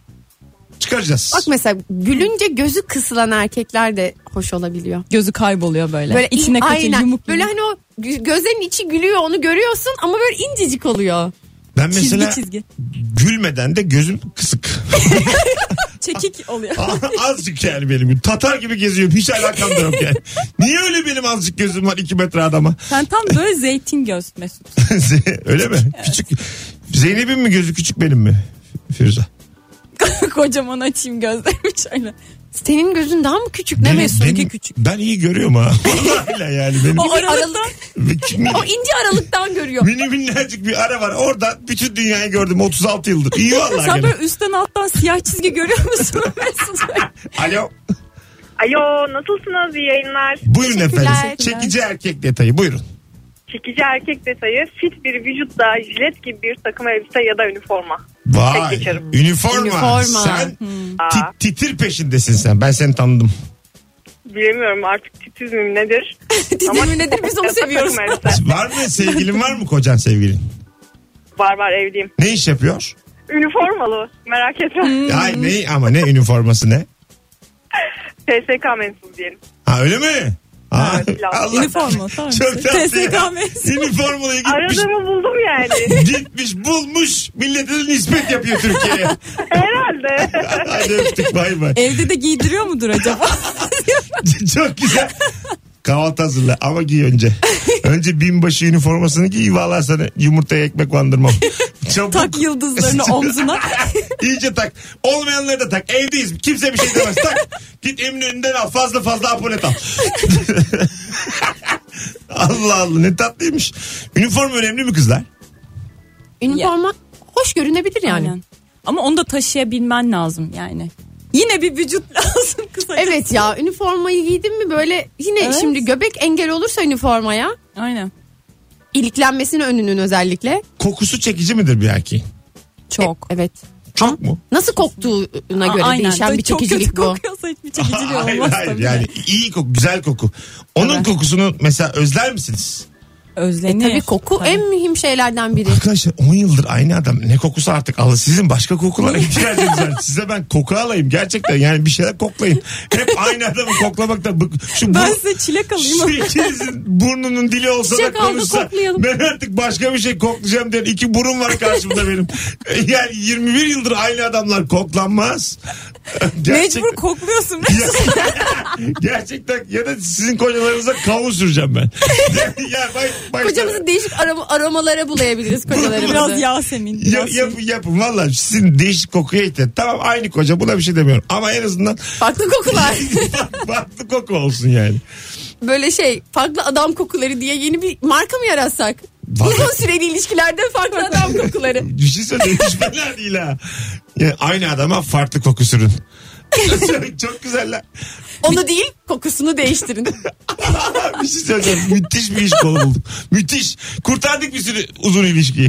[SPEAKER 2] çıkaracağız
[SPEAKER 3] Bak mesela gülünce gözü kısılan erkekler de hoş olabiliyor.
[SPEAKER 4] Gözü kayboluyor böyle.
[SPEAKER 3] Böyle
[SPEAKER 4] Böyle içine
[SPEAKER 3] in-
[SPEAKER 4] kaçıyor
[SPEAKER 3] aynen.
[SPEAKER 4] yumuk.
[SPEAKER 3] Böyle hani o gö- gözlerin içi gülüyor onu görüyorsun ama böyle incecik oluyor.
[SPEAKER 2] ben mesela
[SPEAKER 4] çizgi çizgi.
[SPEAKER 2] gülmeden de gözüm kısık
[SPEAKER 4] Çekik oluyor.
[SPEAKER 2] azıcık yani benim tatar gibi geziyorum hiç alakam da yok yani niye öyle benim azıcık gözüm var 2 metre adama
[SPEAKER 4] Sen tam böyle zeytin göz Mesut.
[SPEAKER 2] öyle mi küçük Zeynep'in mi gözü küçük benim mi Firuze
[SPEAKER 4] Kocaman açayım gözlerimi şöyle.
[SPEAKER 3] Senin gözün daha mı küçük ne
[SPEAKER 2] Benim-
[SPEAKER 3] Mesut?
[SPEAKER 2] benim- Ben iyi görüyorum ha. Vallahi yani benim.
[SPEAKER 4] O aralıkta
[SPEAKER 3] Aralık,
[SPEAKER 2] Mini-
[SPEAKER 3] o ince aralıktan görüyor.
[SPEAKER 2] Mini minnacık bir ara var. Orada bütün dünyayı gördüm 36 yıldır. İyi vallahi
[SPEAKER 4] sen
[SPEAKER 2] gene.
[SPEAKER 4] böyle üstten alttan siyah çizgi görüyor musun Mesut?
[SPEAKER 2] Alo.
[SPEAKER 5] Alo nasılsınız iyi yayınlar.
[SPEAKER 2] Buyurun efendim.
[SPEAKER 4] Teşekkürler.
[SPEAKER 2] Çekici erkek detayı buyurun.
[SPEAKER 5] Çekici erkek detayı fit bir vücutta jilet gibi bir takım elbise ya da üniforma.
[SPEAKER 2] Vay.
[SPEAKER 5] Tek geçerim.
[SPEAKER 2] Üniforma.
[SPEAKER 3] Üniforma. Hmm.
[SPEAKER 2] Sen ti-
[SPEAKER 5] Aa.
[SPEAKER 2] titir peşindesin sen. Ben seni tanıdım.
[SPEAKER 5] Bilemiyorum artık titiz miyim nedir?
[SPEAKER 3] Dizimi nedir biz onu
[SPEAKER 5] Yatak
[SPEAKER 3] seviyoruz.
[SPEAKER 5] takım elbise.
[SPEAKER 2] Var mı sevgilin var mı kocan sevgilin?
[SPEAKER 5] var var evliyim.
[SPEAKER 2] Ne iş yapıyor?
[SPEAKER 5] Üniformalı merak
[SPEAKER 3] Hmm.
[SPEAKER 5] etme.
[SPEAKER 2] Ay ne ama ne üniforması ne?
[SPEAKER 5] TSK mensubu diyelim.
[SPEAKER 2] Ha öyle mi? Ha,
[SPEAKER 5] Evet, lazım.
[SPEAKER 2] Allah.
[SPEAKER 4] Üniforma tamam.
[SPEAKER 2] Çok tatlı ya.
[SPEAKER 4] TSK mensubu.
[SPEAKER 2] Üniformalı gitmiş.
[SPEAKER 3] şey-
[SPEAKER 5] Aradığımı buldum yani.
[SPEAKER 2] Gitmiş bulmuş millete de nispet yapıyor Türkiye'ye.
[SPEAKER 5] Herhalde.
[SPEAKER 2] Hadi öptük bay bay.
[SPEAKER 4] Evde de giydiriyor mudur acaba?
[SPEAKER 2] Çok güzel. Kahvaltı hazırla ama giy önce. Önce binbaşı üniformasını giy. Vallahi sana yumurtaya ekmek bandırmam. Çabuk.
[SPEAKER 4] Tak yıldızlarını omzuna.
[SPEAKER 2] İyice tak. Olmayanları da tak. Evdeyiz. Kimse bir şey demez. Tak. Git Eminönü'nden al. Fazla fazla apolet al. Allah Allah ne tatlıymış. Üniforma önemli mi kızlar?
[SPEAKER 3] Üniforma hoş görünebilir yani.
[SPEAKER 4] Aynen. Ama onu da taşıyabilmen lazım yani. Yine bir vücut lazım kısacası.
[SPEAKER 3] Evet ya üniformayı giydin mi böyle yine
[SPEAKER 4] Evet.
[SPEAKER 3] şimdi göbek engel olursa üniformaya
[SPEAKER 4] Aynen.
[SPEAKER 3] iliklenmesini önünün özellikle.
[SPEAKER 2] Kokusu çekici midir bir erkeğin?
[SPEAKER 4] Çok.
[SPEAKER 3] E- evet.
[SPEAKER 2] Çok mu?
[SPEAKER 3] Nasıl koktuğuna göre
[SPEAKER 4] Aynen.
[SPEAKER 3] değişen bir
[SPEAKER 4] Çok kötü
[SPEAKER 3] çekicilik bu.
[SPEAKER 4] kokuyorsa hiçbir çekiciliği
[SPEAKER 2] hayır
[SPEAKER 4] olmaz
[SPEAKER 2] hayır
[SPEAKER 4] tabii.
[SPEAKER 2] yani iyi koku güzel koku. Onun
[SPEAKER 4] Tabii.
[SPEAKER 2] kokusunu mesela özler misiniz?
[SPEAKER 4] Özlenir.
[SPEAKER 3] E Tabii koku
[SPEAKER 4] Tabii.
[SPEAKER 3] en mühim şeylerden biri.
[SPEAKER 2] Arkadaşlar 10 yıldır aynı adam ne kokusu artık alın. Sizin başka kokulara ihtiyacınız var. Size ben koku alayım gerçekten yani bir şeyler koklayın. Hep aynı adamı koklamaktan bık. Şu
[SPEAKER 4] Ben
[SPEAKER 2] bu- şey
[SPEAKER 4] size çilek alayım.
[SPEAKER 2] Şu ikinizin burnunun dili olsa da
[SPEAKER 3] Çiçek aldı,
[SPEAKER 2] konuşsa
[SPEAKER 3] koklayalım.
[SPEAKER 2] ben artık başka bir şey koklayacağım diyen iki burun var karşımda benim. Yani 21 yıldır aynı adamlar koklanmaz. Gerçekten-
[SPEAKER 4] Mecbur kokluyorsun.
[SPEAKER 2] Ya- gerçekten ya da sizin kocalarınıza kavun süreceğim ben. ya, ya bay- başta-
[SPEAKER 3] Kocamızı değişik aroma, aromalara bulayabiliriz kocalarımızı.
[SPEAKER 4] Biraz Yasemin.
[SPEAKER 2] Ya,
[SPEAKER 4] Yasemin.
[SPEAKER 2] yapın yapın valla sizin değişik kokuya ihtiyaç. Tamam aynı koca buna bir şey demiyorum. Ama en azından
[SPEAKER 3] Farklı kokular.
[SPEAKER 2] farklı koku olsun yani.
[SPEAKER 3] Böyle şey farklı adam kokuları diye yeni bir marka mı yaratsak?
[SPEAKER 2] Var.
[SPEAKER 3] Uzun süreli ilişkilerde farklı adam kokuları.
[SPEAKER 2] Bir şey söyleyeyim hiç fena değil ha. Yani aynı adama farklı koku sürün. Çok güzel lan.
[SPEAKER 3] Onu değil kokusunu değiştirin.
[SPEAKER 2] Bir şey söyleyeceğim. Müthiş bir iş kolu bulduk. Müthiş. Kurtardık bir sürü uzun ilişkiyi.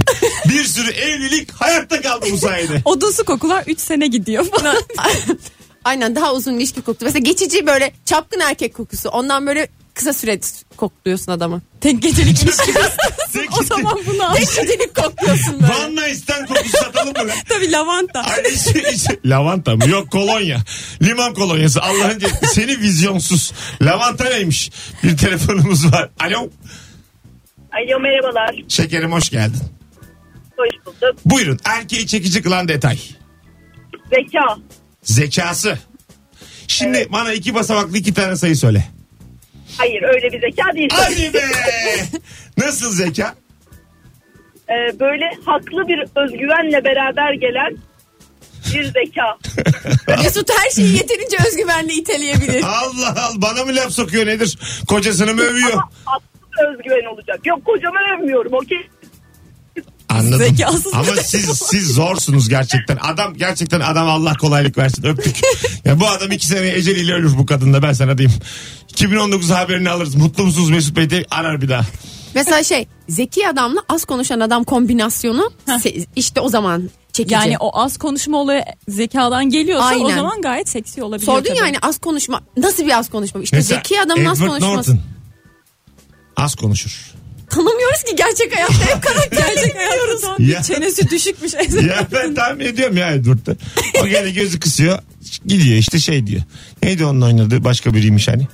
[SPEAKER 2] Bir sürü evlilik hayatta kaldı bu sayede.
[SPEAKER 4] Odunsu kokular 3 sene gidiyor falan.
[SPEAKER 3] Aynen daha uzun ilişki koktu. Mesela geçici böyle çapkın erkek kokusu. Ondan böyle kısa süre kokluyorsun adamı.
[SPEAKER 4] Tek gecelik ilişki.
[SPEAKER 2] Tek-
[SPEAKER 4] o zaman bunu al.
[SPEAKER 3] Geçicilik kokluyorsun böyle.
[SPEAKER 2] Van Nice'den kokusu satalım mı lan?
[SPEAKER 4] Tabii lavanta.
[SPEAKER 2] Ay, iç- iç- şey. Lavanta mı? Yok kolonya. Liman kolonyası. Allah'ın ce- seni vizyonsuz. Lavanta neymiş? Bir telefonumuz var. Alo.
[SPEAKER 6] Alo merhabalar.
[SPEAKER 2] Şekerim hoş geldin.
[SPEAKER 6] Hoş bulduk.
[SPEAKER 2] Buyurun. Erkeği çekici kılan detay.
[SPEAKER 6] Zeka.
[SPEAKER 2] Zekası. Şimdi bana iki basamaklı iki tane sayı söyle.
[SPEAKER 6] Hayır öyle bir zeka değil.
[SPEAKER 2] Hadi be. Nasıl zeka?
[SPEAKER 6] Ee, böyle haklı bir özgüvenle beraber gelen bir zeka.
[SPEAKER 3] Mesut her şeyi yeterince özgüvenle iteleyebilir.
[SPEAKER 2] Allah Allah bana mı laf sokuyor nedir? Kocasını mı övüyor?
[SPEAKER 6] Ama haklı bir özgüven olacak. Yok kocama övmüyorum okey.
[SPEAKER 2] Anladım.
[SPEAKER 4] Zekasız
[SPEAKER 2] Ama
[SPEAKER 4] bir
[SPEAKER 2] siz siz zorsunuz gerçekten. Adam gerçekten adam Allah kolaylık versin. Öptük. ya bu adam iki sene eceliyle ölür bu kadında ben sana diyeyim. 2019 haberini alırız. Mutlu musunuz Mesut Bey diye arar bir daha.
[SPEAKER 3] Mesela şey zeki adamla az konuşan adam kombinasyonu se- işte o zaman çekici.
[SPEAKER 4] Yani o az konuşma olayı zekadan geliyorsa o
[SPEAKER 3] Aynen.
[SPEAKER 4] zaman gayet seksi olabiliyor.
[SPEAKER 3] Sordun
[SPEAKER 4] tabii.
[SPEAKER 3] yani az konuşma. Nasıl bir az konuşma? İşte
[SPEAKER 2] Mesela
[SPEAKER 3] zeki adamın az
[SPEAKER 2] Edward
[SPEAKER 3] konuşması.
[SPEAKER 2] Norton. Az konuşur.
[SPEAKER 3] Tanımıyoruz ki gerçek hayatta hep
[SPEAKER 4] Gerçek hayatta son
[SPEAKER 2] Ya.
[SPEAKER 4] bir çenesi düşükmüş.
[SPEAKER 2] ya ben tahmin ediyorum ya Edward'da. O gene gözü kısıyor. Gidiyor işte şey diyor. Neydi onun oynadığı? Başka biriymiş hani.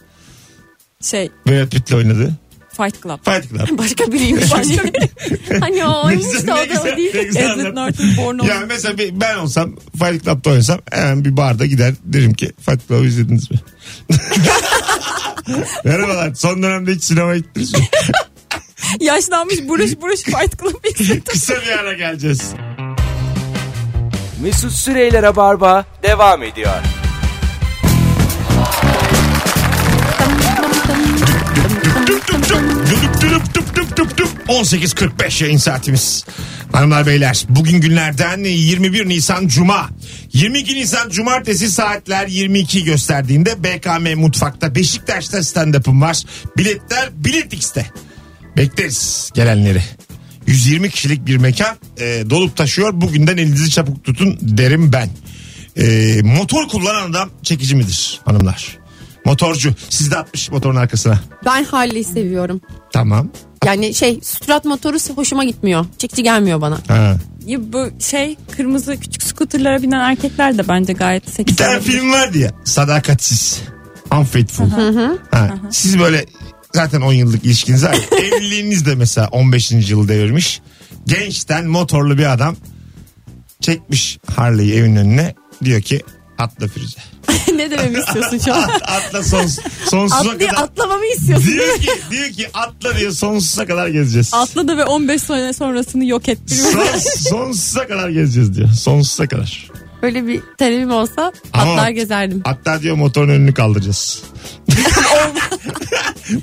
[SPEAKER 4] şey
[SPEAKER 2] Brad Pitt'le oynadı.
[SPEAKER 4] Fight Club.
[SPEAKER 2] Fight Club.
[SPEAKER 3] başka biriymiş. Başka biri. hani o oymuş da o da o değil.
[SPEAKER 2] ne güzel
[SPEAKER 4] Edward
[SPEAKER 2] anlattın.
[SPEAKER 4] Norton born
[SPEAKER 2] Ya
[SPEAKER 4] olmuş.
[SPEAKER 2] mesela bir- ben olsam Fight Club'da oynasam hemen bir barda gider derim ki Fight Club'ı izlediniz mi? Merhabalar son dönemde hiç sinemaya gittiniz mi?
[SPEAKER 4] Yaşlanmış buruş buruş Fight Club izledim.
[SPEAKER 2] Kısa bir ara geleceğiz.
[SPEAKER 1] Mesut Süreyler'e barba devam ediyor.
[SPEAKER 2] Dup dup dup, dup dup dup dup dup dup. 18.45 yayın saatimiz. Hanımlar beyler bugün günlerden 21 Nisan Cuma. 22 Nisan Cumartesi saatler 22 gösterdiğinde BKM Mutfak'ta Beşiktaş'ta stand-up'ım var. Biletler Bilet X'te. Bekleriz gelenleri. 120 kişilik bir mekan e, dolup taşıyor. Bugünden elinizi çabuk tutun derim ben. E, motor kullanan adam çekici midir hanımlar? Motorcu. Siz de atmış motorun arkasına.
[SPEAKER 3] Ben Harley'i seviyorum.
[SPEAKER 2] Tamam.
[SPEAKER 3] Yani şey sürat motoru hoşuma gitmiyor. Çekici gelmiyor bana.
[SPEAKER 2] Ha.
[SPEAKER 4] Ya bu şey kırmızı küçük skuterlara binen erkekler de bence gayet seksi.
[SPEAKER 2] Bir tane
[SPEAKER 4] olabilir.
[SPEAKER 2] film vardı ya. Sadakatsiz. Unfaithful. Ha. Siz böyle zaten 10 yıllık ilişkiniz var. Evliliğiniz de mesela 15. yılı devirmiş. Gençten motorlu bir adam çekmiş Harley'i evin önüne. Diyor ki atla Firuze.
[SPEAKER 3] ne dememi istiyorsun şu an?
[SPEAKER 2] Atla son, sonsuza
[SPEAKER 3] Atlı,
[SPEAKER 2] kadar.
[SPEAKER 3] atlamamı istiyorsun değil
[SPEAKER 2] Diyor
[SPEAKER 3] mi?
[SPEAKER 2] ki, diyor ki atla diyor sonsuza kadar gezeceğiz.
[SPEAKER 4] Atladı ve 15 sene sonrasını yok ettiriyor.
[SPEAKER 2] Son, sonsuza kadar gezeceğiz diyor. Sonsuza kadar.
[SPEAKER 3] Böyle bir talebim olsa
[SPEAKER 2] Ama-
[SPEAKER 3] atlar gezerdim.
[SPEAKER 2] Hatta diyor motorun önünü kaldıracağız.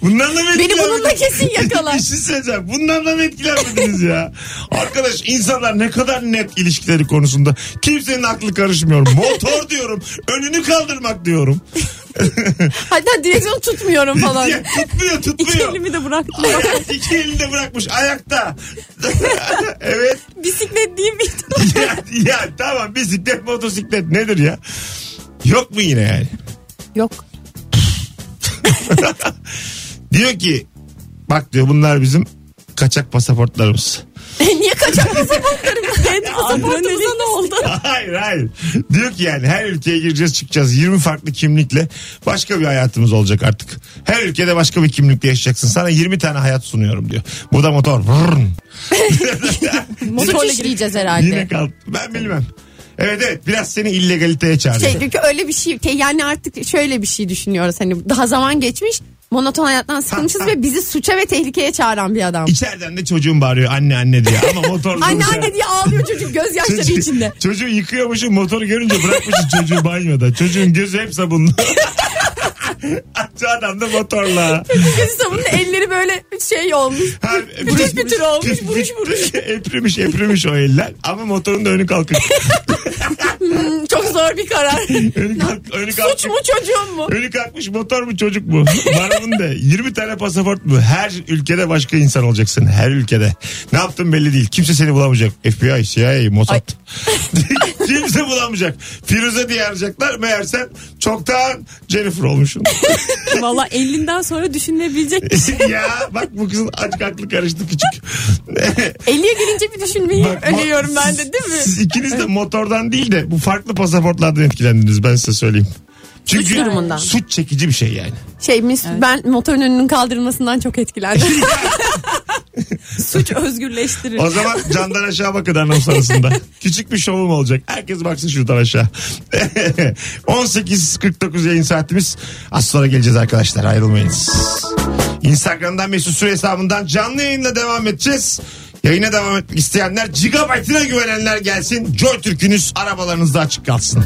[SPEAKER 2] Bundan da mı
[SPEAKER 3] Beni
[SPEAKER 2] etkilenmediniz?
[SPEAKER 3] bununla kesin yakalar.
[SPEAKER 2] Bir şey söyleyeceğim. Bundan da mı etkilenmediniz ya? Arkadaş insanlar ne kadar net ilişkileri konusunda. Kimsenin aklı karışmıyor. Motor diyorum. Önünü kaldırmak diyorum.
[SPEAKER 3] Hatta direksiyon tutmuyorum falan.
[SPEAKER 2] Ya, tutmuyor
[SPEAKER 4] İki
[SPEAKER 2] tutmuyor.
[SPEAKER 4] elimi de bıraktım.
[SPEAKER 2] Ayak, iki elinde bırakmış ayakta. evet.
[SPEAKER 4] Bisiklet değil miydi?
[SPEAKER 2] Ya, ya tamam bisiklet motosiklet nedir ya? Yok mu yine yani?
[SPEAKER 3] Yok.
[SPEAKER 2] Diyor ki bak diyor bunlar bizim kaçak pasaportlarımız.
[SPEAKER 3] Niye kaçak pasaportlarımız? Kendi pasaportumuza ne oldu?
[SPEAKER 2] Hayır hayır. Diyor ki yani her ülkeye gireceğiz çıkacağız 20 farklı kimlikle başka bir hayatımız olacak artık. Her ülkede başka bir kimlikle yaşayacaksın. Sana 20 tane hayat sunuyorum diyor. Burada motor. Vrrn.
[SPEAKER 3] Motorla gireceğiz herhalde.
[SPEAKER 2] Yine kal. Ben bilmem. Evet evet biraz seni illegaliteye
[SPEAKER 3] Şey,
[SPEAKER 2] çağırıyor.
[SPEAKER 3] çünkü öyle bir şey te- yani artık şöyle bir şey düşünüyoruz hani daha zaman geçmiş monoton hayattan sıkılmışız ve bizi suça ve tehlikeye çağıran bir adam.
[SPEAKER 2] İçeriden de çocuğum bağırıyor anne anne diye ama motorlu.
[SPEAKER 3] Anne anne diye ağlıyor çocuk gözyaşları
[SPEAKER 2] Çocuğu-
[SPEAKER 3] içinde.
[SPEAKER 2] Çocuğu yıkıyormuşum motoru görünce bırakmışım çocuğu banyoda. Çocuğun gözü hep sabunlu. Şu adam da motorla.
[SPEAKER 3] Gözü sabunlu elleri böyle şey olmuş.
[SPEAKER 2] Ha,
[SPEAKER 3] Bütün bütün olmuş buruş buruş.
[SPEAKER 2] eprimiş eprimiş o eller ama motorun da önü kalkık.
[SPEAKER 3] Hmm, Çok zor bir karar.
[SPEAKER 2] önü, kalk, önü
[SPEAKER 3] Suç
[SPEAKER 2] kalkık.
[SPEAKER 3] mu çocuğum mu?
[SPEAKER 2] Önü kalkmış motor mu çocuk mu? Varımın de 20 tane pasaport mu? Her ülkede başka insan olacaksın. Her ülkede. Ne yaptın belli değil. Kimse seni bulamayacak. FBI, CIA, Mossad. Kimse bulamayacak. Firuze diye arayacaklar. Meğer sen çoktan Jennifer olmuşsun.
[SPEAKER 4] Valla 50'den sonra düşünülebilecek
[SPEAKER 2] ya bak bu kızın açık aklı karıştı küçük.
[SPEAKER 3] Eliye gelince bir düşünmeyi
[SPEAKER 2] Bak, mo-
[SPEAKER 3] öneriyorum ben de değil mi?
[SPEAKER 2] Siz ikiniz de motordan değil de bu farklı pasaportlardan etkilendiniz ben size söyleyeyim. Çünkü
[SPEAKER 3] Suç durumundan.
[SPEAKER 2] suç çekici bir şey yani.
[SPEAKER 3] Şey mis, ben motorun önünün kaldırılmasından çok etkilendim.
[SPEAKER 4] suç özgürleştirir.
[SPEAKER 2] O zaman candan aşağı bakın anons arasında. Küçük bir şovum olacak. Herkes baksın şuradan aşağı. 18.49 yayın saatimiz. Az sonra geleceğiz arkadaşlar ayrılmayınız. Instagram'dan Mesut Süre hesabından canlı yayınla devam edeceğiz. Yayına devam etmek isteyenler gigabaytına güvenenler gelsin. Joy Türk'ünüz arabalarınızda açık kalsın.